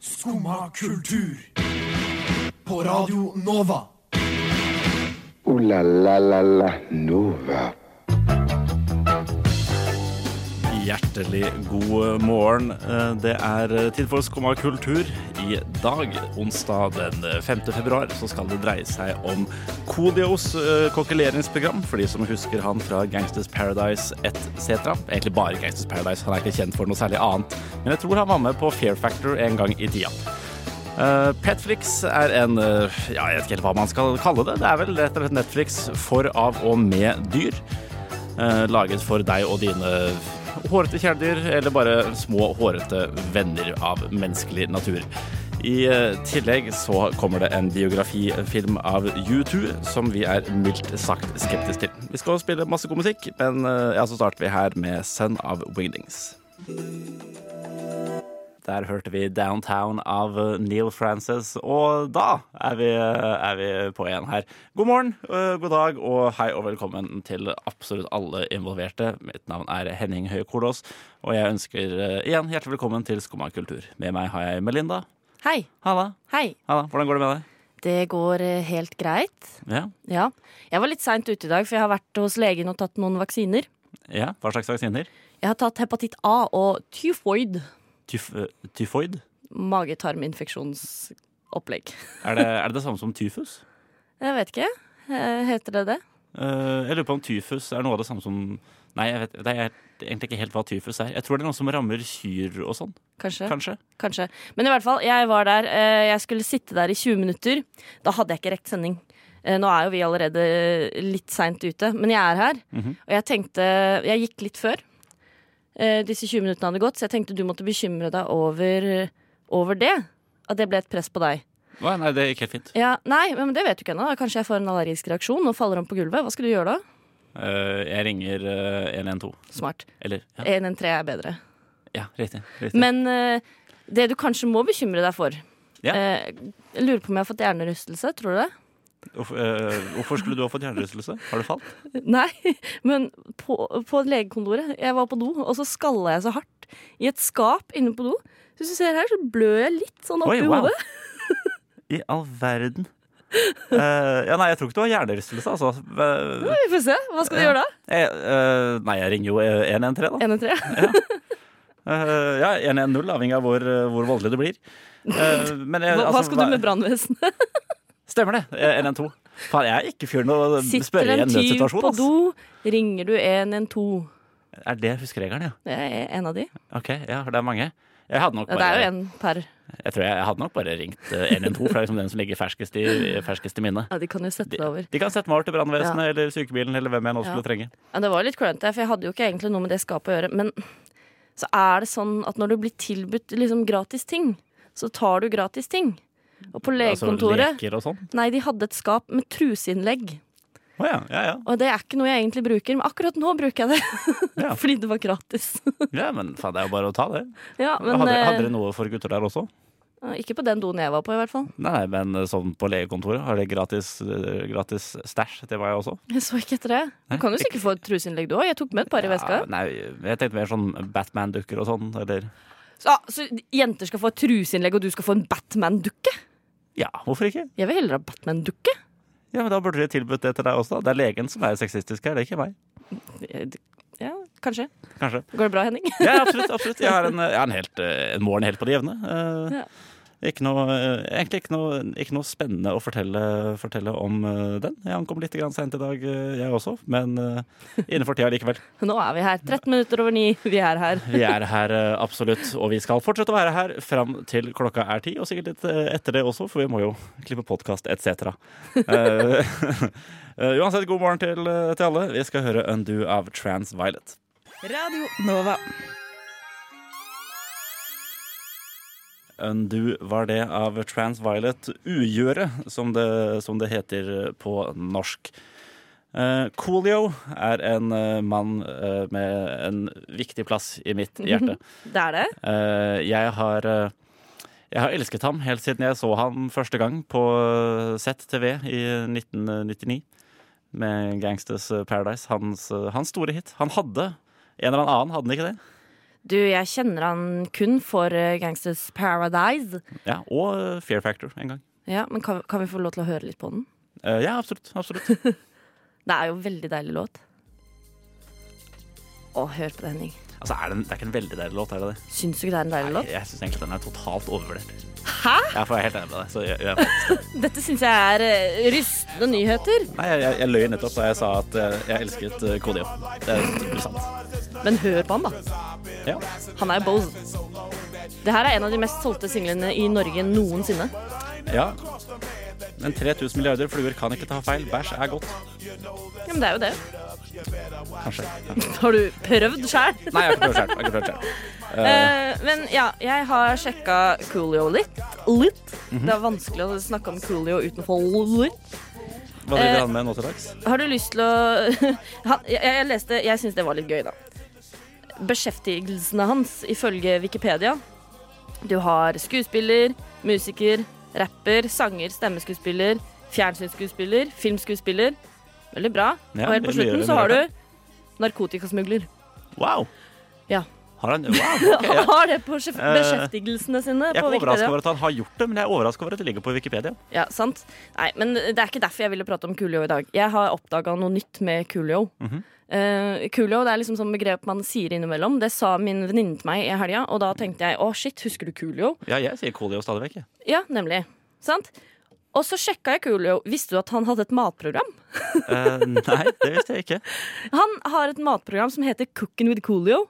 Skumma kultur. På Radio Nova. Ooh la la la la Nova. Hjertelig god morgen. Eh, Det er tid for Skumma kultur. I dag, onsdag den 5. februar, så skal det dreie seg om Kodios eh, kokkeleringsprogram, for de som husker han fra Gangsters Paradise etc. Egentlig bare Gangsters Paradise, han er ikke kjent for noe særlig annet. Men jeg tror han var med på Fair Factor en gang i tida. Eh, Petflix er en eh, ja, Jeg vet ikke helt hva man skal kalle det. Det er vel rett og slett Netflix for, av og med dyr. Eh, laget for deg og dine hårete kjæledyr, eller bare små hårete venner av menneskelig natur. I eh, tillegg så kommer det en biografifilm av U2 som vi er mildt sagt skeptisk til. Vi skal spille masse god musikk, men eh, ja, så starter vi her med Son of Wingdings. Der hørte vi Downtown av eh, Neil Frances, og da er vi, eh, er vi på igjen her. God morgen, øh, god dag og hei og velkommen til absolutt alle involverte. Mitt navn er Henning Høie Kolås, og jeg ønsker øh, igjen hjertelig velkommen til Skumma kultur. Med meg har jeg Melinda. Hei. Halla. Hei. Halla. Hvordan går det med deg? Det går eh, helt greit. Ja. Ja. Jeg var litt seint ute i dag, for jeg har vært hos legen og tatt noen vaksiner. ja. Hva slags vaksiner? Jeg har tatt hepatitt A og tyfoid. Tyf øh, tyfoid? Magetarminfeksjonsopplegg. Er det, er det det samme som tyfus? Jeg vet ikke. Eh, Heter det det? Eh, jeg lurer på om tyfus er noe av det samme som Nei, jeg vet det er egentlig ikke helt hva tyfus er. Jeg tror det er noe som rammer kyr og sånn, Kanskje. kanskje. Kanskje. Men i hvert fall, jeg var der. eh, Jeg skulle sitte der i 20 minutter. Da hadde jeg ikke rekt sending. Eh, Nå er jo vi allerede litt seint ute, men jeg er her. Mhm. Og jeg tenkte Jeg gikk litt før eh, disse 20 minuttene hadde gått, så jeg tenkte du måtte bekymre deg over, over det. At det ble et press på deg. Nei, nei, det gikk helt fint. Ja, nei, men det vet du ikke ennå. Kanskje jeg får en allergisk reaksjon og faller om på gulvet. Hva skal du gjøre da? Eh, jeg ringer eh, 112. Smart. Eller Ja, 113 er bedre. ja riktig. riktig. Eh, Men eh, det du kanskje må bekymre deg for Ja. eh, Jeg lurer på om jeg har fått hjernerystelse. Tror du det? Hvorfor- eh, hvorfor skulle du ha fått hjernerystelse? Har du falt? Nei, men på, på legekontoret. Jeg var på do, og så skalla jeg så hardt i et skap inne på do. Så Hvis du ser her, så blør jeg litt sånn oppi Oi, wow. hodet. I all verden. Eh, ja, nei, jeg tror ikke du har hjernerystelse, altså. Eh, Vi får se. Hva skal du Ja. gjøre da? eh, eh, nei, jeg ringer jo eh, 113, da. 113? Eh, ja, 110, avhengig av hvor, eh, hvor voldelig det blir. Eh, men jeg, Hva, hva altså, skal du med brannvesenet? Stemmer det. eh, 112. Faen, jeg er ikke fyren å Sitter spørre i en en tyv nødsituasjon. på ass. do, ringer du 112. Er det huskeregelen, ja? Jeg er en av de. Ok, ja, det er mange. Jeg hadde nok Ja, bare det er jo en per. Jeg tror jeg, jeg hadde nok bare ringt eh, 112, for det er liksom den som ligger ferskest i, ferskest i minnet. Ja, de kan jo sette deg over. De kan sette meg over til brannvesenet eller sykebilen eller hvem jeg nå skulle Ja. trenge. Ja, det var litt klønete, for jeg hadde jo ikke egentlig noe med det skapet å gjøre. Men så er det sånn at når du blir tilbudt liksom gratis ting, så tar du gratis ting. Og på legekontoret Altså leker og sånn. Nei, de hadde et skap med truseinnlegg. Å ja, ja, ja. Og det er ikke noe jeg egentlig bruker, men akkurat nå bruker jeg det. Ja. Fordi det var gratis. ja. Men faen, det er jo bare å ta det. ja, men hadde, eh, hadde dere noe for gutter der også? Ikke på den doen jeg var på, i hvert fall. Nei, nei, men eh, sånn på legekontoret. Har dere gratis, eh, gratis stæsj? Det var jeg også. Jeg så ikke etter det. Nei, Du kan jo sikkert få et truseinnlegg, du òg. Jeg tok med et par i veska. Ja, nei, jeg tenkte mer sånn Batman-dukker og sånn, eller Så, ah, så jenter skal få et truseinnlegg, og du skal få en Batman-dukke? Ja, hvorfor ikke? Jeg vil heller ha Batman-dukke. Ja, men Da burde de tilbudt det til deg også. Det er legen som er sexistisk her, det er ikke meg. Eh, d- Ja, kanskje. Kanskje. Går det bra, Henning? Ja, absolutt. absolutt. Jeg har en, jeg har en, helt, eh, en morgen helt på det jevne. Eh, Ja. Ikke noe, eh, egentlig ikke noe, ikke noe spennende å fortelle, fortelle om eh, den. Jeg ankom litt grann sent i dag, eh, jeg også, men eh, innenfor tida likevel. Nå er vi her. 13 minutter over ni. Vi er her. Vi er her eh, absolutt, og vi skal fortsette å være her fram til klokka er ti. Og sikkert litt eh, etter det også, for vi må jo klippe podkast etc. Eh, eh, uansett, god morgen til, eh, til alle. Vi skal høre Undo av Transviolet. Radio Nova. Undo var det av Transviolet Ugjøre, som det, som det heter på norsk. Eh, Coolio er en eh, mann eh, med en viktig plass i mitt hjerte. Det er det. Eh, jeg har eh, jeg har elsket ham helt siden jeg så ham første gang på eh, ZTV i 1999 eh, med Gangsters Paradise, hans, eh, hans store hit. Han hadde en eller annen, hadde han ikke det? Du, jeg kjenner han kun for eh, Gangsters Paradise. Ja, og eh, Fear Factor en gang. Ja, men kan, kan vi få lov til å høre litt på den? Eh, ja, absolutt. absolutt. Det er jo en veldig deilig låt. Å, hør på det, Henning. Altså, er det, en, det er ikke en veldig deilig låt, er det det? Syns du ikke det er en deilig Nei, låt? jeg syns egentlig den er totalt overvurdert. Hæ? Jeg er helt enig med deg. Så jeg, jeg, Dette syns jeg er eh, rystende nyheter. nei, jeg, jeg, jeg løy nettopp da jeg sa at eh, jeg elsket eh, KDO. Det er utrolig sant. Men hør på han, da. Ja. Han er jo Bose. Det her er en av de mest solgte singlene i Norge noensinne. ja. Men 3000 milliarder fluer kan ikke ta feil. Bæsj er godt. Ja, men det er jo det. Kanskje. Ja. Har du prøvd sjæl? Nei, jeg har ikke prøvd selv. Jeg har ikke prøvd selv. Eh, men ja, jeg har sjekka Coolio litt. Litt. Det er vanskelig å snakke om Coolio utenfor litt. Hva Eh. driver han med nå til dags? Har du lyst til å han, jeg, jeg leste Jeg syns det var litt gøy, da. Beskjeftigelsene hans ifølge Wikipedia. Du har skuespiller, musiker, rapper, sanger, stemmeskuespiller, fjernsynsskuespiller, filmskuespiller. Veldig bra. Ja, Og helt på det- det gjør slutten det så mye har rart, du narkotikasmugler. Wow! Ja. Har han Wow! ok, ja. Eh, Han har det på sjef- beskjeftigelsene sine Jeg på er ikke overraska Wikipedia. over at han har gjort det, men jeg er overraska over at det ligger på Wikipedia. Ja, sant? Nei, men det er ikke derfor jeg ville prate om Coolio i dag. Jeg har oppdaga noe nytt med Coolio. Mhm. Eh, Coolio det er liksom sånn begrep man sier innimellom. Det sa min venninne til meg i helga, og da tenkte jeg å shit, husker du Coolio? Ja, jeg sier Colio stadig vekk. jeg. Ja, nemlig. Sant? Og så sjekka jeg Coolio. Visste du at han hadde et matprogram? Eh, nei, det visste jeg ikke. Han har et matprogram som heter Cooking with Coolio.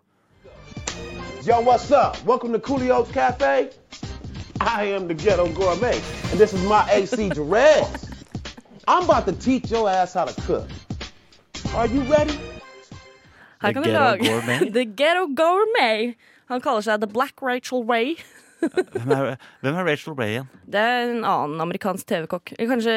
Yo, what's up? Welcome to Coolio's Cafe. I am the ghetto gourmet, and this is my AC Jerez. I'm about to teach your ass how to cook. Are you ready? The Her kan du Ghetto lage Gourmet? The Ghetto Gourmet. Han kaller seg The Black Rachel Ray. Hvem er, hvem er Rachel Ray igjen? Det er en annen amerikansk TV-kokk. Kanskje,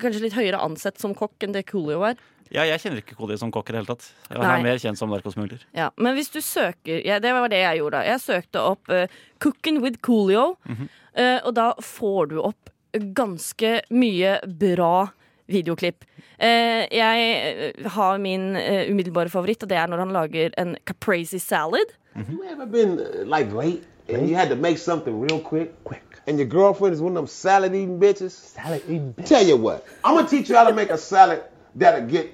kanskje litt høyere ansett som kokk enn det Coolio er. Ja, jeg kjenner ikke Colio som kokk i det hele tatt. Han Nei. er mer kjent som narkosmugler. Ja, men hvis du søker ja, Det var det jeg gjorde. da Jeg søkte opp eh, 'Cooking with Coolio', Mhm. eh, og da får du opp ganske mye bra videoklipp. Eh, jeg eh, har min eh, umiddelbare favoritt, og det er når han lager en caprese salad. You ever been uh, like late and you had to make something real quick? Quick. And your girlfriend is one of them salad eating bitches? Salad eating bitches. Tell you what, I'm gonna teach you how to make a salad that'll get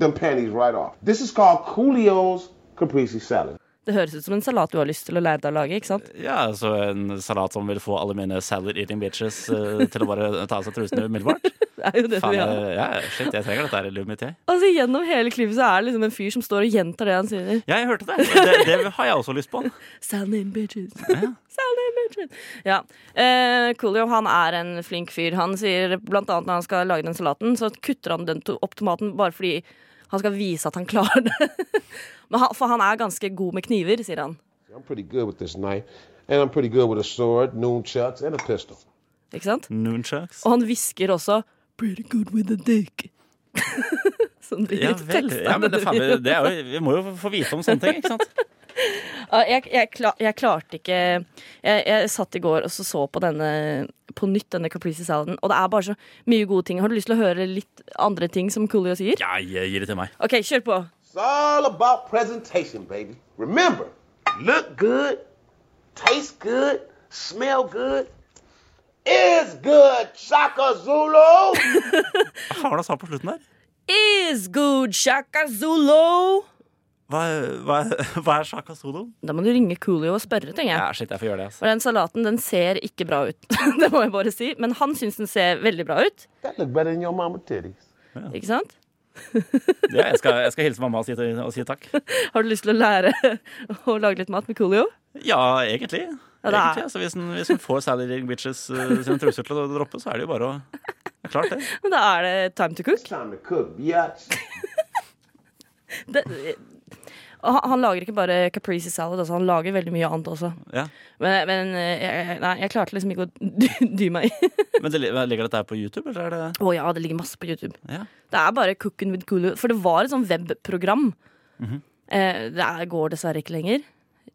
them panties right off. This is called Coolio's Caprese Salad. Det høres ut som en salat du har lyst til å lære deg å lage. ikke sant? Ja, så en salat som vil få alle mine salad eating bitches eh, til å bare ta av seg trusene umiddelbart. Det er jo det Faen, du gjør. jeg, ja, shit, jeg trenger dette her i livet mitt, jeg. Altså, Gjennom hele klippet så er det liksom en fyr som står og gjentar det han sier. Ja, jeg hørte det. det. Det har jeg også lyst på. Sand in bitches. Sand in bitches. Ja. Eh, Coolio han er en flink fyr. Han sier blant annet når han skal lage den salaten, så kutter han den to opp tomaten bare fordi han skal vise at han klarer det. Men han, for han er ganske god med kniver, sier han. I'm pretty good with this knife, and I'm pretty good with a sword, nunchucks, and a pistol. Ikke sant? Noonchucks. Og han hvisker også 'pretty good with a dick'. Som blir Ja litt vel. tekst, Ja, men det, faen, det er jo, vi må jo få vite om sånne ting, ikke sant? Ja, jeg, jeg, kla- jeg klarte ikke jeg, jeg satt i går og så, så på denne på nytt denne Caprese Saladen, og det er bare så mye gode ting. Har du lyst til å høre litt andre ting som Coolio sier? Ja, jeg gir det til meg. OK, kjør på. It's all about presentation, baby. Remember, look good, taste good, smell good, is good, Shaka Zulu. Hva var det han sa på slutten der? Is good shaka zulu. Hva, hva, hva er shaka solo? Da må du ringe Coolio og spørre, tenker Ja, jeg. shit, jeg får gjøre det. Altså. For den salaten den ser ikke bra ut. det må jeg bare si. Men han syns den ser veldig bra ut. that look better than your mama titties. Ikke sant? Ja, jeg, skal, jeg skal hilse mamma og si, og si takk. Har du lyst til å lære å lage litt mat med Coolio? Ja, egentlig. det er- egentlig altså, hvis, en, hvis en får Sally Ring Bitches eh, sine truser til å droppe, så er det jo bare å det er Klart det. Da er det time to cook. Time to cook, biatch. det, og han, han lager ikke bare caprese salad, altså, han lager veldig mye annet også. Ja. Men, men eh, jeg, nei, jeg klarte liksom ikke å dy, dy meg. Men det, li- ligger dette her på YouTube, eller er det Å ja, det ligger masse på YouTube. Ja. Det er bare Cooking with Coolio. For det var et sånt webprogram. Mhm. eh, det er, går dessverre ikke lenger.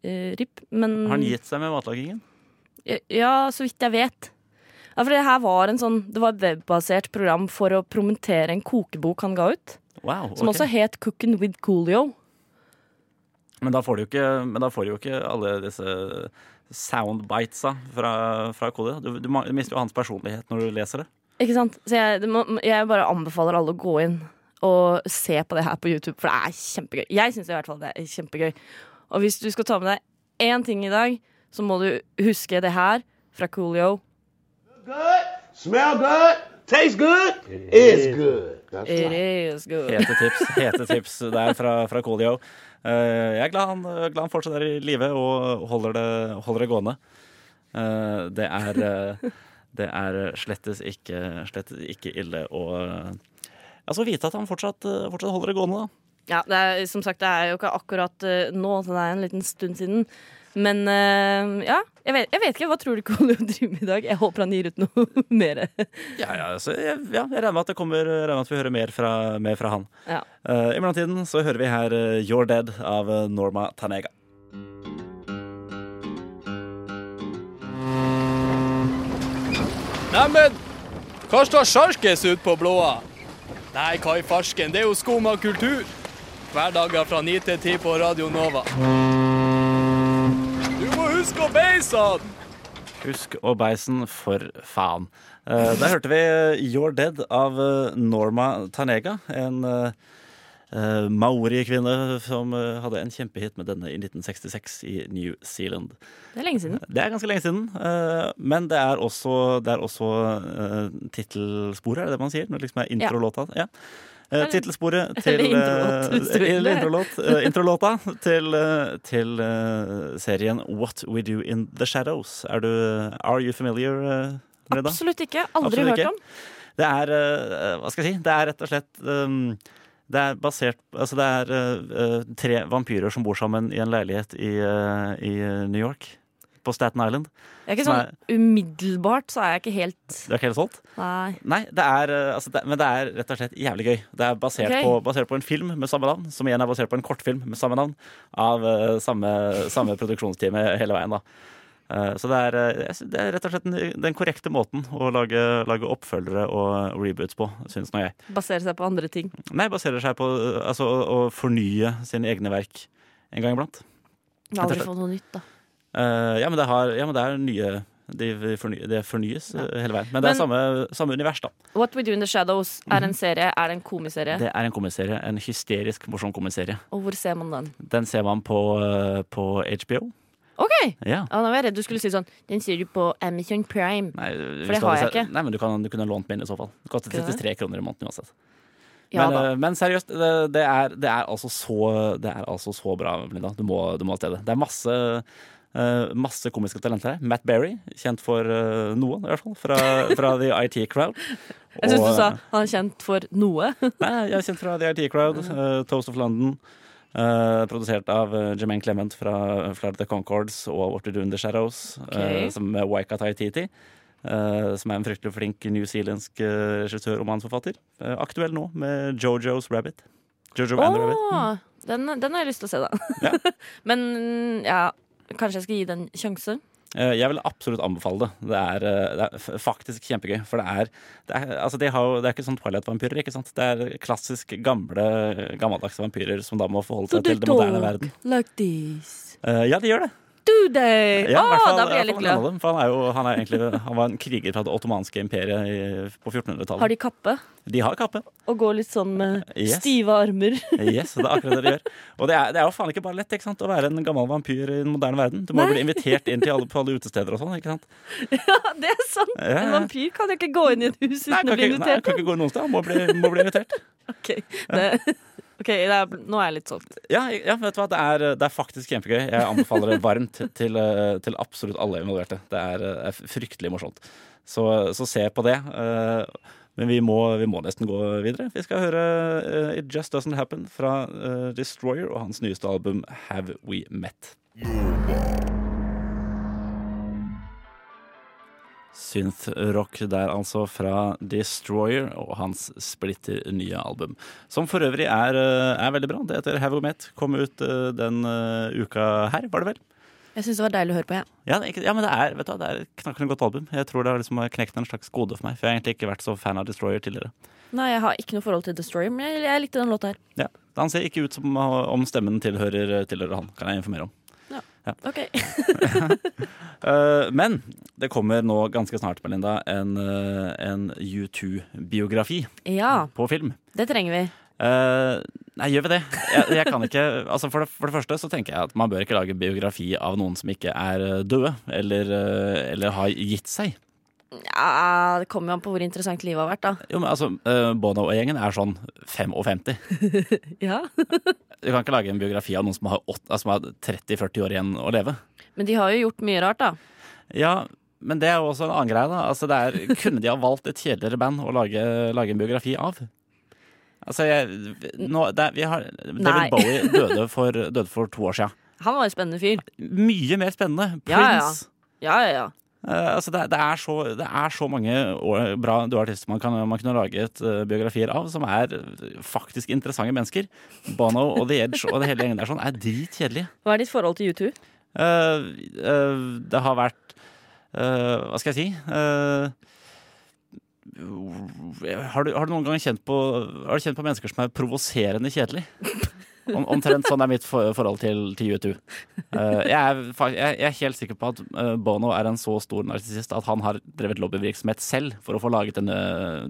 Eh, RIP. Men Har han gitt seg med matlagingen? Ja, så vidt jeg vet. Ja, for det her var en sånn Det var et webbasert program for å promotere en kokebok han ga ut. Wow. Som ok. også het Cooking with Coolio. Men da får de jo ikke, men da får de jo ikke alle disse soundbitesa fra, fra Kodi. Du, du ma- mister jo hans personlighet når du leser det. Ikke sant? Så jeg, det må, jeg bare anbefaler alle å gå inn og se på det her på YouTube, for det er kjempegøy. Jeg syns i hvert fall det er kjempegøy. Og hvis du skal ta med deg én ting i dag, så må du huske det her fra Coolio. Good. Smell good. Taste good. It's good. That's It right. is good. Hete tips, hete tips der fra, fra Kodio. Eh, Jeg er glad han, glad han fortsatt er i live og holder det, holder det gående. Eh, Det er, eh, det er slettes ikke, slettes ikke ille å eh, Altså vite at han fortsatt, eh, fortsatt holder det gående, da. Ja, det er, som sagt, det er jo ikke akkurat eh, nå, så det er en liten stund siden. Men eh, ja, jeg vet, jeg vet ikke. Hva tror du Coolio driver med i dag? Jeg håper han gir ut noe mer. Ja, ja, så jeg, ja, jeg regner med at det kommer, jeg regner med at vi hører mer fra, mer fra han. Ja. Eh, I mellomtiden så hører vi her eh, You're Dead av eh, Norma Tanega. Neimen, hva står sjarkes ut på blåa? Nei, hva i farsken, det er jo skum av kultur. Hverdager fra 9 til 10 på Radio Nova. Du må huske å beise han! Husk og beisen, for faen. Eh, der hørte vi eh, You're Dead av eh, Norma Tanega. En eh, eh, maori-kvinne som eh, hadde en kjempehit med denne i 1966 i New Zealand. Det er lenge siden. Det er ganske lenge siden, eh, men det er også, det er også eh, tittelsporet, er det det man sier? Når det liksom er introlåta? Ja. Eh, Tittelsporet til Eller eh, introlåt, hvis du vil. eller introlåt, eh, Introlåta til, eh, til eh, serien What We Do In The Shadows. Er du, are you familiar eh, med det? da? Absolutt ikke. Aldri Absolutt hørt ikke. om. Det er eh, Hva skal jeg si? Det er rett og slett ehm, det er basert Altså, det er eh, eh, tre vampyrer som bor sammen i en leilighet i, eh, i eh, New York. På Staten Island. Jeg er ikke Som sånn umiddelbart, så er jeg ikke helt Det er ikke helt solgt? Nei. Nei, det er, eh, altså, det, men det er rett og slett jævlig gøy. Det er basert, Ok. på, basert på en film med samme navn, som igjen er basert på en kortfilm med samme navn, av eh, samme, samme produksjonsteam hele veien, da. Eh, Så det er, eh, jeg synes det er rett og slett den, den korrekte måten å lage, lage oppfølgere og reboots på, syns nå jeg. Baserer seg på andre ting. Nei, baserer seg på uh, altså, å, å fornye sine egne verk en gang iblant. Jeg har aldri fått noe nytt, da. Eh, ja, men det har, ja, men det er nye Det forny, det fornyes uh, hele veien. Men det er Men- samme, samme univers, da. What We Do In The Shadows er en serie. Er det en komiserie? Mhm. Det er en komiserie. En hysterisk morsom komiserie. Og hvor ser man den? Den ser man på, uh, på HBO. OK! Ja. Ja, nå var jeg redd du skulle si sånn Den ser du på Amazon Prime. Nei, hvis det du har hadde jeg sett- ikke. Nei, men du, kan, du kunne lånt min i så fall. Det koster Kunne jeg? 33 kroner i måneden uansett. Ja men, da. eh, men seriøst, det, det, er, det, er altså så, det er altså så bra, Melinda. Du må, du må til det. Det er masse, eh, masse komiske talenter her. Matt Berry, kjent for eh, noen, i hvert fall. Fra, fra The IT Crowd. Jeg syns Og- eh, du sa han er kjent for noe. Nei, jeg er kjent fra The IT Crowd, eh, Toast of London. eh, produsert av uh, Jemaine Clement fra Flight of the Concords og What to Do in the Shadows, eh, Ok. som er Waika Taititi. eh, som er en fryktelig flink newzealandsk eh, regissør og manusforfatter. Eh, aktuell nå med Jojo's Rabbit. Jojo and the Rabbit. Åh, den, den har jeg lyst til å se, da. Men ja, kanskje jeg skal gi den en sjanse. Eh, Jeg vil absolutt anbefale det. Det er, eh, det er f- faktisk kjempegøy. For det er, det er, altså de har, jo- det er ikke sånn Twilight-vampyrer. ikke sant? Det er klassisk gamle, gammeldagse vampyrer som da må forholde seg til den moderne verden. like this. Eh, Ja, de gjør det. Do they? Ja, i hvert Åh, fall- da blir i hvert jeg fall en litt av glad. dem, For han, er jo, han, er egentlig, han var en kriger fra det ottomanske imperiet i, på 1400-tallet. Har de kappe? de har kappe. Og går litt sånn med Yes. stive armer? Yes, det er akkurat det de gjør. Og det er, det er jo faen ikke bare lett ikke sant, å være en gammel vampyr i den moderne verden. Du må Nei. bli invitert inn til alle, på alle utesteder og sånn. ikke sant? Ja, det er sant! Ja, ja. En vampyr kan jo ikke gå inn i et hus Nei, uten kan å bli ikke, nei, invitert. kan ikke gå noen sted. Må bli, må bli invitert. Ok, det, ok, det er, nå er jeg litt solgt. Ja, ja vet du hva? Det er, det er faktisk kjempegøy. Jeg anbefaler det varmt til, eh, til absolutt alle involverte. Det er, eh, er fryktelig morsomt. Så, så se på det. eh, Men vi må, vi må nesten gå videre. Vi skal høre eh, It Just Doesn't Happen fra eh, Destroyer og hans nyeste album Have We Met. Synth-rock der altså fra Destroyer og hans splitter nye album. Som for øvrig er, eh, er veldig bra. Det heter Have We Met. Kom ut eh, den eh, uka her, var det vel? Jeg syns det var deilig å høre på, jeg. Ja, det er ikke- ja men det er, vet du, hva, det er et knakende godt album. Jeg tror det har liksom knekt en slags kode for meg. For jeg har egentlig ikke vært så fan av Destroyer tidligere. Nei, jeg har ikke noe forhold til The Story, men jeg, jeg likte den låta her. Ja, Han ser ikke ut som om stemmen tilhører, tilhører han, kan jeg informere om. Ok. Eh, Men det kommer nå ganske snart, Melinda, en, eh, en U2-biografi Ja, på film. det trenger vi. Eh, nei, gjør vi det? Jeg, jeg kan ikke, altså for, det, for det første så tenker jeg at man bør ikke lage en biografi av noen som ikke er eh, døde, eller, eh, eller har gitt seg. Ja, det kommer jo an på hvor interessant livet har vært, da. Jo, men altså, eh, Bono og gjengen er sånn 55. Ja. Du kan ikke lage en biografi av noen som har, åt- altså, som har 30-40 år igjen å leve. Men de har jo gjort mye rart, da. Ja, men det er jo også en annen greie, da. Altså, det er, kunne de ha valgt et kjedeligere band å lage, lage en biografi av? Altså, jeg, nå, det, er- vi har, Nei. David Bowie døde for, døde for to år siden. Han var en spennende fyr. Mye mer spennende. Prince. Ja, ja. Ja, ja, ja. Eh, altså, det, det, er så, det er så mange år, bra døde artister man kan, man kunne laget eh, biografier av, som er eh, faktisk interessante mennesker. Bono og The Edge og det hele gjengen der sånn er dritkjedelige. Hva er ditt forhold til U2? Eh, eh, det har vært eh, Hva skal jeg si? Eh, har, du, har du noen gang kjent på, har du kjent på mennesker som er provoserende kjedelig? Om, omtrent sånn er mitt for, forhold til, til U2. Eh, jeg, er, fa- jeg, jeg er helt sikker på at eh, Bono er en så stor narsissist at han har drevet lobbyvirksomhet selv for å få laget denne,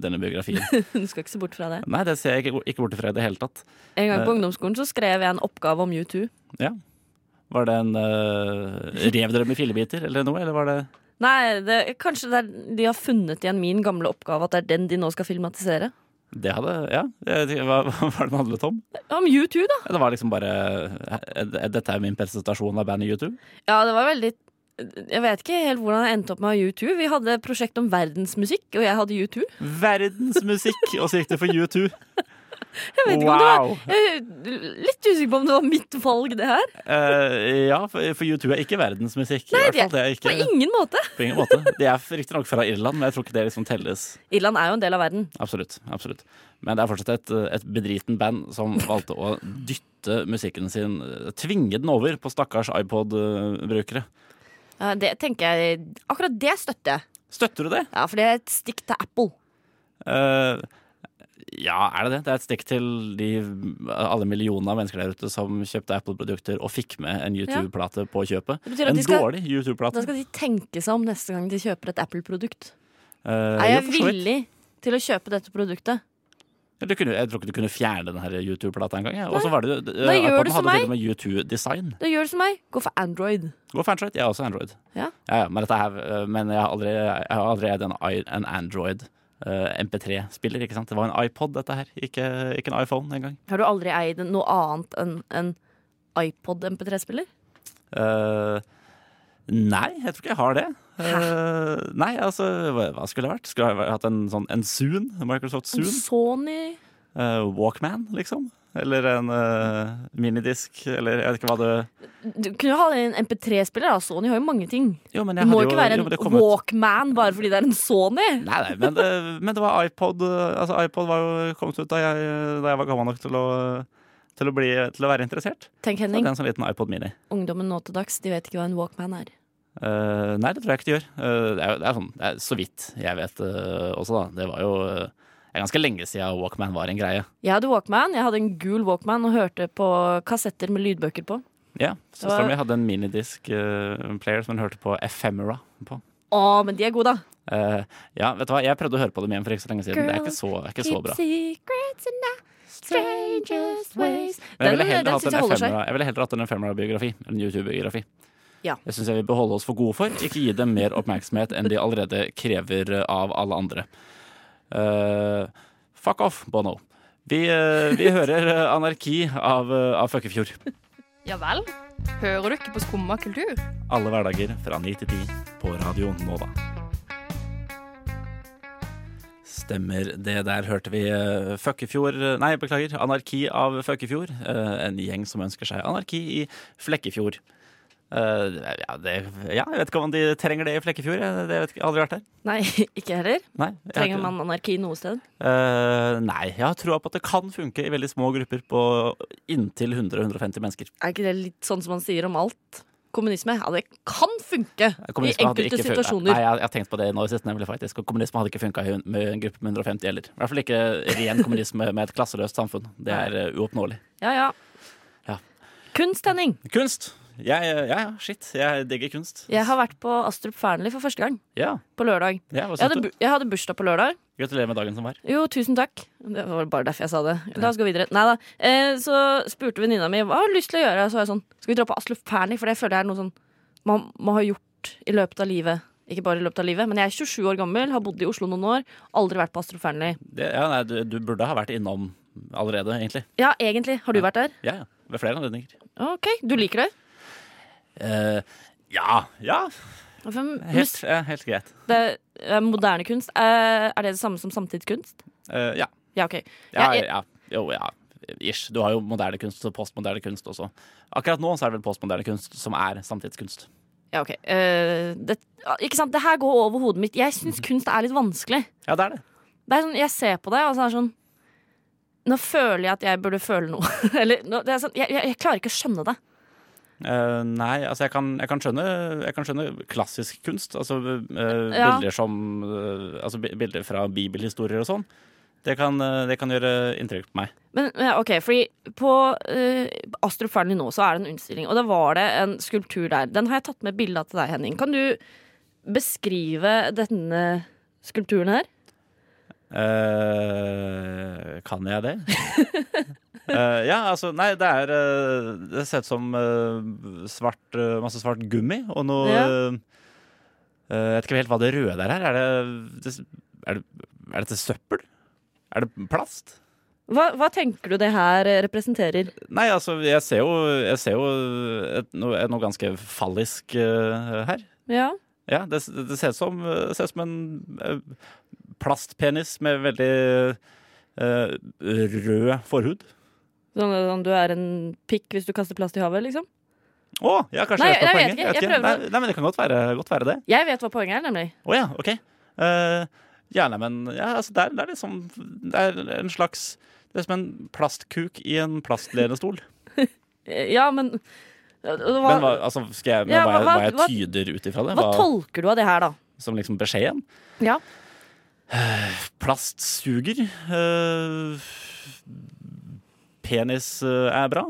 denne biografien. Du skal ikke se bort fra det. Nei, det ser jeg ikke, ikke bort ifra i det hele tatt. En gang på ungdomsskolen så skrev jeg en oppgave om U2. Ja. Var det en eh, Rev dere med fillebiter eller noe, eller var det Nei, det, kanskje det er, de har funnet igjen min gamle oppgave, at det er den de nå skal filmatisere. Det hadde, ja. Jeg vet ikke, Hva, hva var det den handlet om? Om U2, da! Det var liksom bare eh, Dette er min presentasjon av bandet YouTube. Ja, det var veldig Jeg vet ikke helt hvordan jeg endte opp med å ha U2. Vi hadde et prosjekt om verdensmusikk, og jeg hadde U2. Verdensmusikk! Og så gikk det for U2. Jeg vet ikke om Wow! det var jeg er Litt usikker på om det var mitt valg, det her. Eh, ja, for, for U2 er ikke verdensmusikk. Nei, I hvert fall det er På ikke ingen måte. på ingen måte. De er riktignok fra Irland, men jeg tror ikke det liksom telles. Irland er jo en del av verden. Absolutt. absolutt. Men det er fortsatt et, eh, et bedriten band som valgte å dytte musikken sin, eh, tvinge den over på stakkars iPod-brukere. Ja, Det tenker jeg Akkurat det støtter jeg. Støtter du det? Ja, for det er et stikk til Apple. Eh, ja, er det det? Det er et stikk til de, alle millionene av mennesker der ute som kjøpte Apple-produkter og fikk med en YouTube-plate på kjøpet. Det betyr at en de skal- dårlig Da YouTube-plate. skal de tenke seg om neste gang de kjøper et Apple-produkt. Eh, Er jo, jeg for så vidt. villig til å kjøpe dette produktet? Du kunne, jeg tror ikke du kunne fjerne den her YouTube-plata engang. Ja. Og så var det jo- Da gjør iPoden du som hadde til meg. og med U2-design. Da gjør du som meg. Gå for Android. Gå for Android. Jeg har også Android. Ja. Ja, ja, men, dette her, eh, men jeg har aldri, jeg har aldri eid en, i- en Android. eh, MP3-spiller, ikke sant? Det var en iPod, dette her. Ikke, ikke en iPhone engang. Har du aldri eid noe annet enn en iPod MP3-spiller? Eh, nei, jeg tror ikke jeg har det. Eh, nei, altså, hva, hva skulle det vært? Skulle jeg hatt en sånn en Zoon? en Microsoft Zoon? Sony Eh, Walkman, liksom? Eller en eh, minidisk, eller jeg vet ikke hva det Du kunne jo ha en MP3-spiller. da Sony har jo mange ting. Jo, men Det jeg må hadde ikke jo- være jo, men det kom en ut- Walkman bare fordi det er en Sony. Nei, nei, men, eh, men det var iPod. eh, Altså, iPod var jo kommet ut da jeg, da jeg var gammel nok til å, til å, bli, til å være interessert. Tenk, Så hadde Henning. jeg en sånn liten iPod mini. Ungdommen nå til dags de vet ikke hva en Walkman er. Eh, nei, det tror jeg ikke de gjør. Eh, det, er, jo- det er sånn, det er så vidt jeg vet eh, også, da. Det var jo eh, det er ganske lenge siden Walkman var en greie. Jeg hadde Walkman. Jeg hadde en gul Walkman og hørte på kassetter med lydbøker på. Ja, Søstera var- mi hadde en minidisk eh, player som hun hørte på Ephemera på. Å, men de er gode, da. Eh, ja, vet du hva, jeg prøvde å høre på dem igjen for ikke så lenge siden. Det er ikke så, det er ikke så bra. secrets in the strangest Men jeg ways. Den, eh, ville den, heller hatt syns en jeg holder seg. Ephemera- jeg ville heller hatt en Ephemera-biografi. En YouTube-biografi. Ja. Jeg syns jeg vil beholde oss for gode for. Ikke gi dem mer oppmerksomhet enn de allerede krever eh, av alle andre. Eh, fuck off, Bono. Vi, eh, vi hører eh, anarki av, eh, av Føkkefjord. Ja vel? Hører du ikke på Skumma kultur? Alle hverdager fra 9 til 10 på Radio Nova. Stemmer det. Der hørte vi eh, Føkkefjord Nei, beklager. Anarki av Føkkefjord. Eh, En gjeng som ønsker seg anarki i Flekkefjord. Eh, Ja, det, ja, jeg vet ikke om de trenger det i Flekkefjord. Jeg det vet ikke, jeg har aldri vært der. Nei, ikke heller. Nei, jeg har Trenger ikke- man anarki noe sted? Eh, nei, jeg har trua på at det kan funke i veldig små grupper på inntil 100-150 mennesker. Er ikke det litt sånn som man sier om alt? kommunisme. Ja, det kan funke i Kommunisme hadde ikke enkelte funka. situasjoner. Nei, jeg, jeg har tenkt på det nå i siste, nemlig faktisk. Og kommunisme hadde ikke funka med en gruppe med 150 heller. I hvert fall ikke ren kommunisme med et klasseløst samfunn. Det er eh, uoppnåelig. Ja, ja. Ja. Kunst, Henning. Kunst! Jeg, ja, ja, shit. Jeg digger kunst. Jeg har vært på Astrup Fearnley for første gang. Ja, På lørdag. ja hva Jeg synes hadde, du? bu- jeg hadde bursdag på lørdag. Gratulerer med dagen som var. Jo, tusen takk. Det var bare derfor jeg sa det. La oss gå videre. Neida. Eh, så spurte venninna mi hva har du lyst til å gjøre. Så var jeg sånn Skal vi dra på Asluf Fearnley? For det føler jeg er noe sånn man må ha gjort i løpet av livet. Ikke bare i løpet av livet, men jeg er 27 år gammel, har bodd i Oslo noen år. Aldri vært på Astrup Fearnley. Det, ja, nei, du, du burde ha vært innom allerede, egentlig. Ja, egentlig. Har du vært der? Ja, ja. Ved flere anledninger. OK, du liker det? Eh, ja. Ja. Hvem- Helt, eh, helt greit. Det er moderne kunst. Eh, Er det det samme som samtidskunst? Eh, ja. Ja, OK. Ja, Jeg- ja. Jo, ja. Ish. Du har jo moderne kunst og postmoderne kunst også. Akkurat nå så er det vel postmoderne kunst som er samtidskunst. Ja, ok. Eh, det, ja, ikke sant? det her går over hodet mitt. Jeg syns kunst er litt vanskelig. Ja, det er det. Det er sånn, Jeg ser på det, og så er det sånn Nå føler jeg at jeg burde føle noe. Eller, nå, det er sånn, jeg, jeg, jeg klarer ikke å skjønne det. Eh, nei, altså jeg kan, jeg, kan skjønne, jeg kan skjønne klassisk kunst. Altså eh, Ja. bilder som eh, Altså bi- bilder fra bibelhistorier og sånn. Det kan, eh, det kan gjøre inntrykk på meg. Men eh, ok, fordi på eh, Astrup Fearnley nå så er det en utstilling, og da var det en skulptur der. Den har jeg tatt med bilde av til deg, Henning. Kan du beskrive denne skulpturen her? Eh, kan jeg det? Eh, ja, altså Nei, det er eh, Det ser ut som eh, svart, eh, masse svart gummi og noe Ja. eh, eh, Jeg vet ikke helt hva det røde der er. Er det, det, er det Er dette søppel? Er det plast? Hva, hva tenker du det her eh, representerer? Nei, altså, jeg ser jo, jeg ser jo et, noe, et, noe ganske fallisk eh, her. Ja. Ja, det, det ser ut som, det ser ut som en eh, plastpenis med veldig eh, rød forhud. Sånn, sånn du er en pikk hvis du kaster plast i havet, liksom? Å, ja, kanskje Nei, det er jeg poenget. vet ikke, jeg prøver Nei, å- nei, men det kan godt være, godt være det. Jeg vet hva poenget er, nemlig. Å ja, OK. Eh, ja, nei, men ja, altså, det, er, det er liksom Det er en slags Det er som en plastkuk i en plastlenestol. Eh, Ja, men eh, hva, Men hva, altså, skal jeg, men Ja, hva, hva- jeg- hva hva- jeg tyder ut ifra det? hva tolker du av det her, da? som liksom beskjeden? Ja. Plast suger. Eh, penis eh, er bra.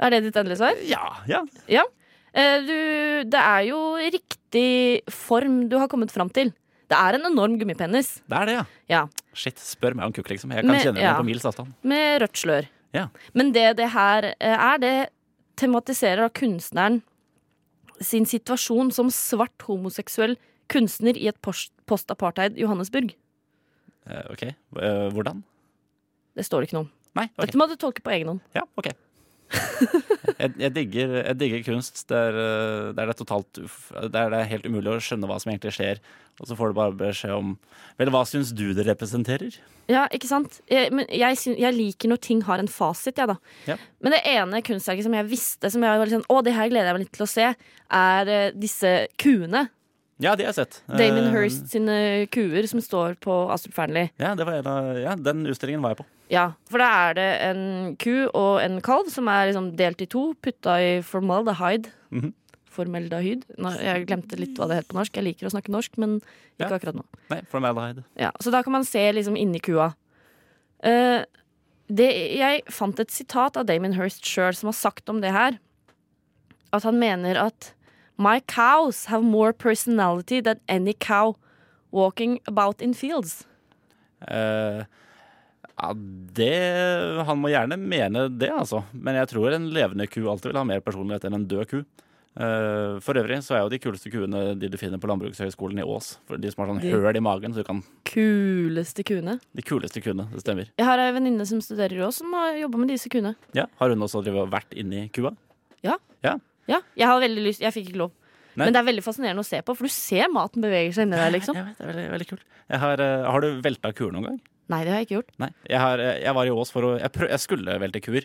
Er det ditt endelige svar? Ja, ja. Ja. Eh, Du, det er jo riktig form du har kommet fram til. Det er en enorm gummipenis Det er det, ja. Ja. Shit, spør meg om kukk, liksom. Jeg kan Men- kjenne det ja. på mils avstand. med rødt slør. Ja. Men det det her eh, er, det tematiserer da kunstneren sin situasjon som svart homoseksuell kunstner i et post- post-apartheid Johannesburg. Eh, OK, Eh, hvordan? Det står det ikke noe om. Nei, OK. Dette må du tolke på egen hånd. Ja, ok jeg, jeg, digger, jeg digger kunst der, eh, der det er totalt uff- Der det er helt umulig å skjønne hva som egentlig skjer, og så får du bare beskjed om Vel, hva syns du det representerer? Ja, ikke sant? Jeg, men jeg, syn- jeg liker når ting har en fasit, jeg, da. Ja. Men det ene kunstverket som jeg visste, som jeg var litt sånn, å, det her gleder jeg meg litt til å se, er eh, disse kuene. Ja, det har jeg sett. Damon Eh, Hirst sine kuer som står på Astrup Fearnley. Ja, det var en av, ja, den utstillingen var jeg på. Ja, for da er det en ku og en kalv som er liksom delt i to, putta i formaldehyd. Mhm. Formaldehyd. Nå, jeg glemte litt hva det het på norsk. Jeg liker å snakke norsk, men ikke Ja. akkurat nå. Nei, formaldehyde. Ja, så da kan man se liksom inni kua. Eh, det, jeg fant et sitat av Damon Hirst sjøl som har sagt om det her. At han mener at My cows have more personality than any cow walking about in fields. Eh, ja, det Han må gjerne mene det, altså. Men jeg tror en levende ku alltid vil ha mer personlighet enn en død ku. Eh, for øvrig så er jo de kuleste kuene de du finner på Landbrukshøgskolen i Ås. For de som har sånn De- høl i magen, så du kan Kuleste kuene. De kuleste kuene, det stemmer. Jeg har ei venninne som studerer òg, som har jobba med disse kuene. Ja, Har hun også drevet og vært inni kua? Ja, jeg har veldig lyst, jeg fikk ikke lov. Nei. Men det er veldig fascinerende å se på, for du ser maten beveger seg inni deg, liksom. Jeg vet, det er veldig, veldig kult. Jeg har, eh, har du velta kuer noen gang? Nei, det har jeg ikke gjort. Nei. Jeg, har, eh, jeg var i Ås for å Jeg, prøv, jeg skulle velte kuer.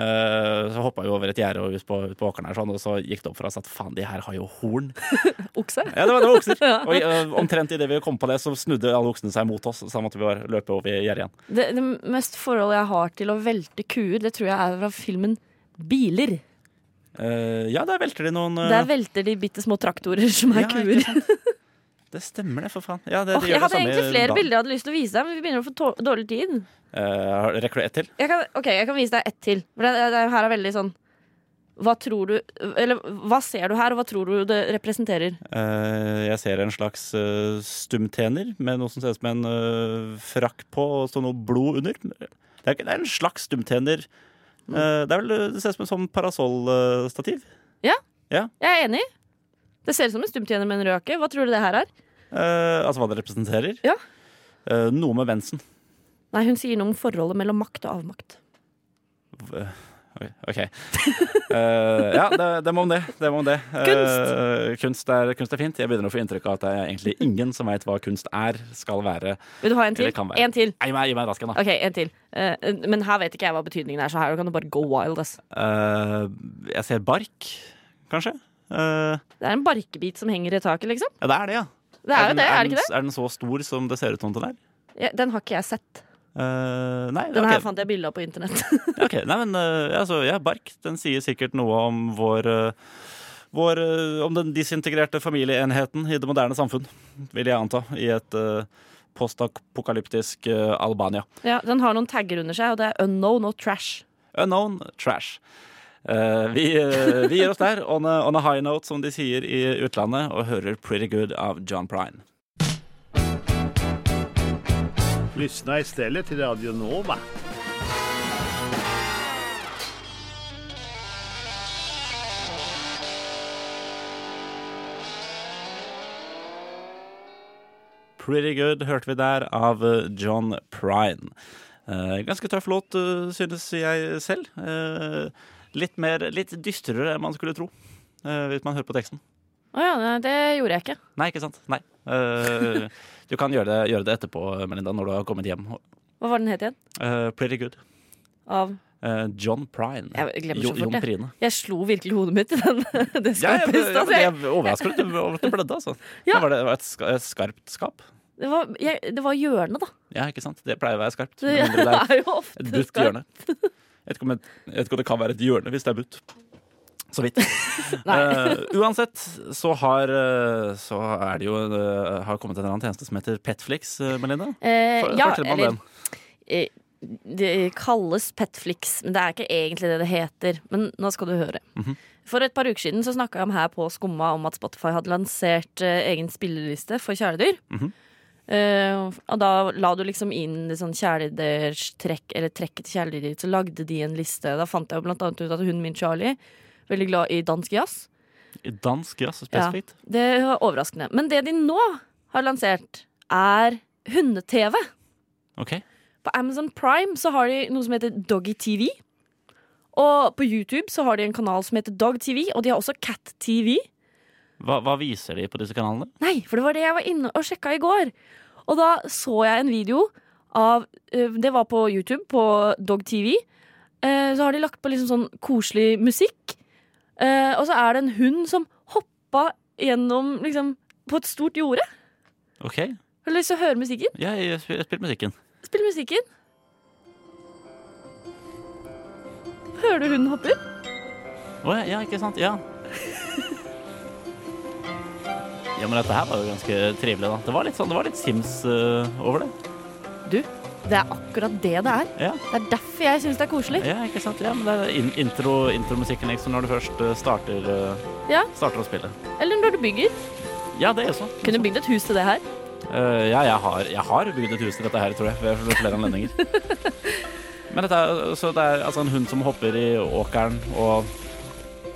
Eh, så hoppa jeg over et gjerde og ut på, ut på åkeren her, sånn, og så gikk det opp for oss at faen, de her har jo horn. Okse? Ja, det var, det var okser. Og eh, omtrent idet vi kom på det, så snudde alle oksene seg mot oss. Så da måtte vi bare løpe over gjerdet igjen. Det, det mest forholdet jeg har til å velte kuer, det tror jeg er fra filmen Biler. Eh, ja, der velter de noen eh, Der velter de bitte små traktorer som er ja, ikke kuer. sant? Det stemmer det, for faen. Ja, det, de Åh, gjør jeg det hadde samme i egentlig flere Dan. bilder jeg hadde lyst til å vise deg, men vi begynner å få tå- dårlig tid. Eh, har- rekker du ett til? Jeg kan, ok, jeg kan vise deg ett til. For det, det, det her er veldig sånn Hva tror du Eller hva ser du her, og hva tror du det representerer? Eh, jeg ser en slags eh, stumtener med noe som ser ut som en eh, frakk på og står noe blod under. Det er, ikke- det er en slags stumtener. Mm. Eh, det, er vel, det ser ut som en sånn parasollstativ. Jeg er enig. Det ser ut som en stumtjener med en rød jakke. Hva tror du det her er? Eh, altså hva det representerer. Ja. Eh, noe med mensen. Nei, hun sier noe om forholdet mellom makt og avmakt. Ok. ok. Eh, ja, det, det må om det. det, må om det. Eh, kunst, er, kunst er fint. Jeg begynner å få inntrykk av at det er egentlig ingen som veit hva kunst er, skal være. Vil du ha en til? Eller kan være. En til. Nei, Gi meg, gi meg rasken, da. Ok, en til. Eh, men her vet ikke jeg hva betydningen er, så her kan du bare go wild. Ass. Eh, jeg ser bark, kanskje. Eh, Det er en barkebit som henger i taket, liksom. ja, det er det, ja. Det er jo det, er det ikke det? den, er den så stor som det ser ut som den er? Ja, den har ikke jeg sett. Eh, nei, Den ok. her fant jeg bilde av på internett. Ok, Nei, men eh, altså, ja, bark. Den sier sikkert noe om vår eh, vår, eh, om den disintegrerte familieenheten i det moderne samfunn, vil jeg anta, i et eh, postapokalyptisk eh, Albania. ja, den har noen tagger under seg, og det er unknown og trash. Unknown trash. Eh, vi, eh, vi gir oss der, on a, on a high note, som de sier i utlandet, og hører Pretty Good av John Prine. Lyssna istället till Radio Nova. Pretty Good hørte vi der av eh, John Prine. Eh, ganske tøff låt, eh, synes jeg selv. Eh, litt, mer, litt dystrere enn man skulle tro, eh, hvis man hører på teksten. Å ja, nei, det gjorde jeg ikke. Nei, ikke sant? Nei. Eh, du kan gjøre det, gjøre det etterpå, Melinda, når du har kommet hjem. Hva var den het igjen? Eh, pretty Good. Av Eh, John Prine. Jeg glemmer så Jo- fort, Jon jeg. Prine. Jeg slo virkelig hodet mitt i den. Det Ja, jeg, skapet i jeg, stad. så jeg jeg- er overrasket over at du blødde, altså. Ja. Det var, det, det var et, ska, et skarpt skap. Det var- jeg- det var hjørnet, da. Ja, ikke sant? Det pleier å være skarpt. Det med mindre det er- er jo ofte Et butt skarpt. hjørne. Jeg vet, ikke om et, jeg vet ikke om det kan være et hjørne hvis det er butt. Så vidt. Eh, uansett så har eh, Så er det jo eh, Har kommet en eller annen tjeneste som heter Petflix, eh, Melinda. Eh, For- ja, fortell meg om eller den. eh, Det kalles Petflix, men det er ikke egentlig det det heter. Men nå skal du høre. Mhm. For et par uker siden så snakka jeg om her på Skumma om at Spotify hadde lansert eh, egen spilleliste for kjæledyr. Mhm. Eh, og da la du liksom inn litt sånn kjæledyrstrekk, eller trekket til kjæledyret ditt, så lagde de en liste. Da fant jeg jo blant annet ut at hunden min Charlie, veldig glad i dansk jazz. I Dansk jazz Ja, spesifikt. det var overraskende. Men det de nå har lansert, er hunde-TV. Ok. På Amazon Prime så har de noe som heter Doggy TV. Og på YouTube så har de en kanal som heter Dog TV, og de har også Cat TV. Hva, hva viser de på disse kanalene? Nei, for det var det jeg var inne og sjekka i går. Og da så jeg en video av eh, Det var på YouTube, på Dog TV. Eh, Så har de lagt på liksom sånn koselig musikk. Eh, Og så er det en hund som hoppa gjennom liksom på et stort jorde. Ok, Har du lyst til å høre musikken? ja, jeg, sp- jeg spiller musikken. Spill musikken. Hører du hunden hopper? Å ja, ja, ikke sant? Ja. Ja, men dette her var jo ganske trivelig, da. Det var litt, sånn, det var litt Sims eh, over det. Du, det er akkurat det det er. Ja. Det er derfor jeg syns det er koselig. Ja, ikke sant? Ja, men det er in intro, intromusikken liksom når du først eh, starter, eh, Ja. starter å spille. Eller når du bygger. Ja, det også. Kunne bygd et hus til det her. Eh, ja, jeg har, jeg har bygd et hus til dette her, tror jeg, ved ved flere anledninger. Men dette er, så det er altså en hund som hopper i åkeren, og,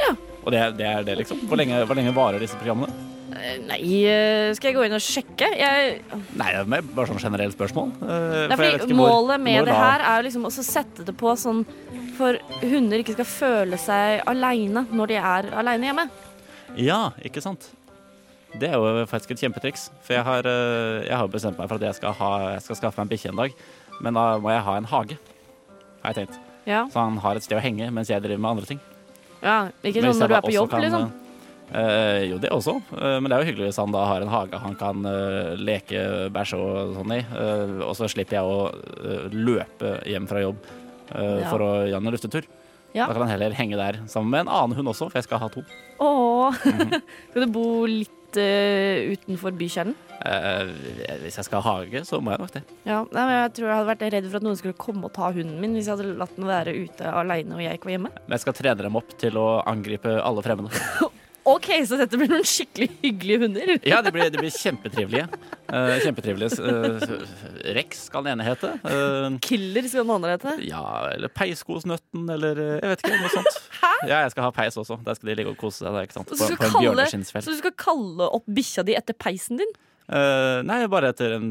Ja. og det, er- det er det, liksom. Hvor lenge, hvor lenge varer disse programmene? Eh, Nei, eh, skal jeg gå inn og sjekke? Jeg, Nei, det er mer bare sånn generelt spørsmål. eh, det er for jeg vet fordi ikke hvor- Målet med hvor det da- her er jo liksom også å sette det på sånn for hunder ikke skal føle seg aleine når de er aleine hjemme. Ja, ikke sant? Det er jo faktisk et kjempetriks. For jeg har, eh, jeg har bestemt meg for at jeg skal, ha, jeg skal skaffe meg en bikkje en dag. Men da må jeg ha en hage, har jeg tenkt. Ja, Så han har et sted å henge mens jeg driver med andre ting. ja Ikke Men sånn hvis jeg når du da er på også jobb, kan, liksom. eh, jo, det også. Eh, men det er jo hyggelig hvis han da har en hage han kan eh, leke, bæsje og sånn i. Eh, og så slipper jeg å eh, løpe hjem fra jobb eh, Ja. for å gjøre en luftetur. Ja. Da kan han heller henge der sammen med en annen hund også, for jeg skal ha to. Åh. Mhm. Skal du bo litt eh, utenfor bykjernen? Eh, hvis jeg skal ha hage, så må jeg nok det. Ja, nei, men jeg tror jeg hadde vært redd for at noen skulle komme og ta hunden min hvis jeg hadde latt den være ute alene og jeg ikke var hjemme. Men jeg skal trene dem opp til å angripe alle fremmede. OK, så dette blir noen skikkelig hyggelige hunder. Ja, de blir, de blir kjempetrivelige. Eh, kjempetrivelige. eh, Rex skal den ene hete. Eh, Killer, skal den andre hete. ja, eller Peiskosnøtten, eller eh, jeg vet ikke, noe sånt. Hæ? Ja, jeg skal ha peis også. Der skal de ligge og kose seg. da, Ikke sant? Så På, du skal, på en kalle, bjørneskinnsfell. så du skal kalle opp bikkja di etter peisen din? Eh, nei, bare etter en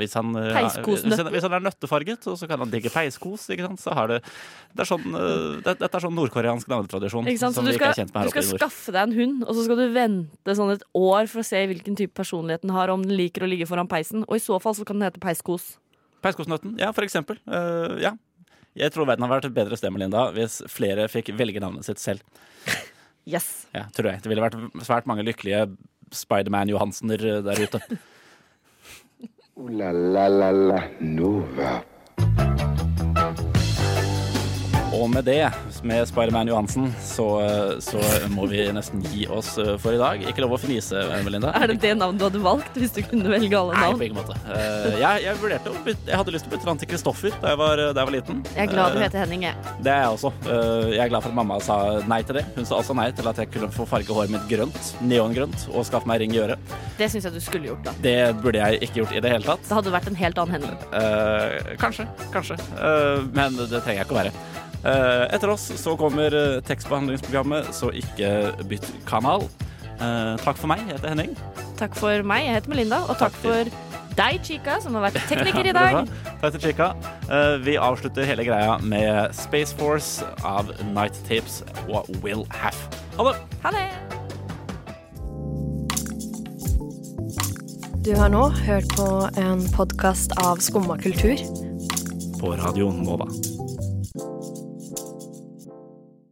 Hvis han, eh, Peiskosnøtten. hvis han- hvis han er nøttefarget, så, så kan han digge peiskos. Ikke sant? Så har det, det er sånn, eh, det, dette er sånn nordkoreansk navnetradisjon Ikke sant? Så som du vi ikke skal, er kjent med her du oppe skal i nord. skaffe deg en hund, og så skal du vente sånn et år for å se hvilken type personlighet den har, om den liker å ligge foran peisen. Og i så fall så kan den hete peiskos. Peiskosnøtten, ja, for eksempel. Eh, ja. Jeg tror verden hadde vært et bedre sted med Linda hvis flere fikk velge navnet sitt selv. Yes. Ja, tror jeg. Det ville vært svært mange lykkelige Spiderman Johansener der ute. Ooh la la la la Nova. Og med det, med Spiderman Johansen, så, så må vi nesten gi oss eh, for i dag. Ikke lov å fnise, Melinda. Er det det navnet du hadde valgt hvis du kunne velge alle Nei, på navn? ingen måte. Eh, jeg, jeg vurderte å bytte Jeg hadde lyst til å bytte navn til Kristoffer da jeg var, eh, da jeg var liten. Jeg er glad du Eh, heter Henning, jeg. Det er jeg også. Eh, jeg er glad for at mamma sa nei til det. Hun sa også nei til at jeg kunne få farge håret mitt grønt, neongrønt, og skaffe meg ring i øret. Det syns jeg du skulle gjort, da. Det burde jeg ikke gjort i det hele tatt. Det hadde vært en helt annen Henning. Eh, kanskje, kanskje. Eh, men det trenger jeg ikke å være. Eh, etter oss så kommer eh, tekstbehandlingsprogrammet, så ikke bytt kanal. Eh, takk for meg. Jeg heter Henning. Takk for meg, jeg heter Melinda, og takk for deg, Chica, som har vært tekniker i dag. Takk til Chica. Eh, vi avslutter hele greia med Space Force av Night Tapes og Will Haff. Ha det! Ha det. Du har nå hørt på en podkast av Skumma kultur. På radioen Nova.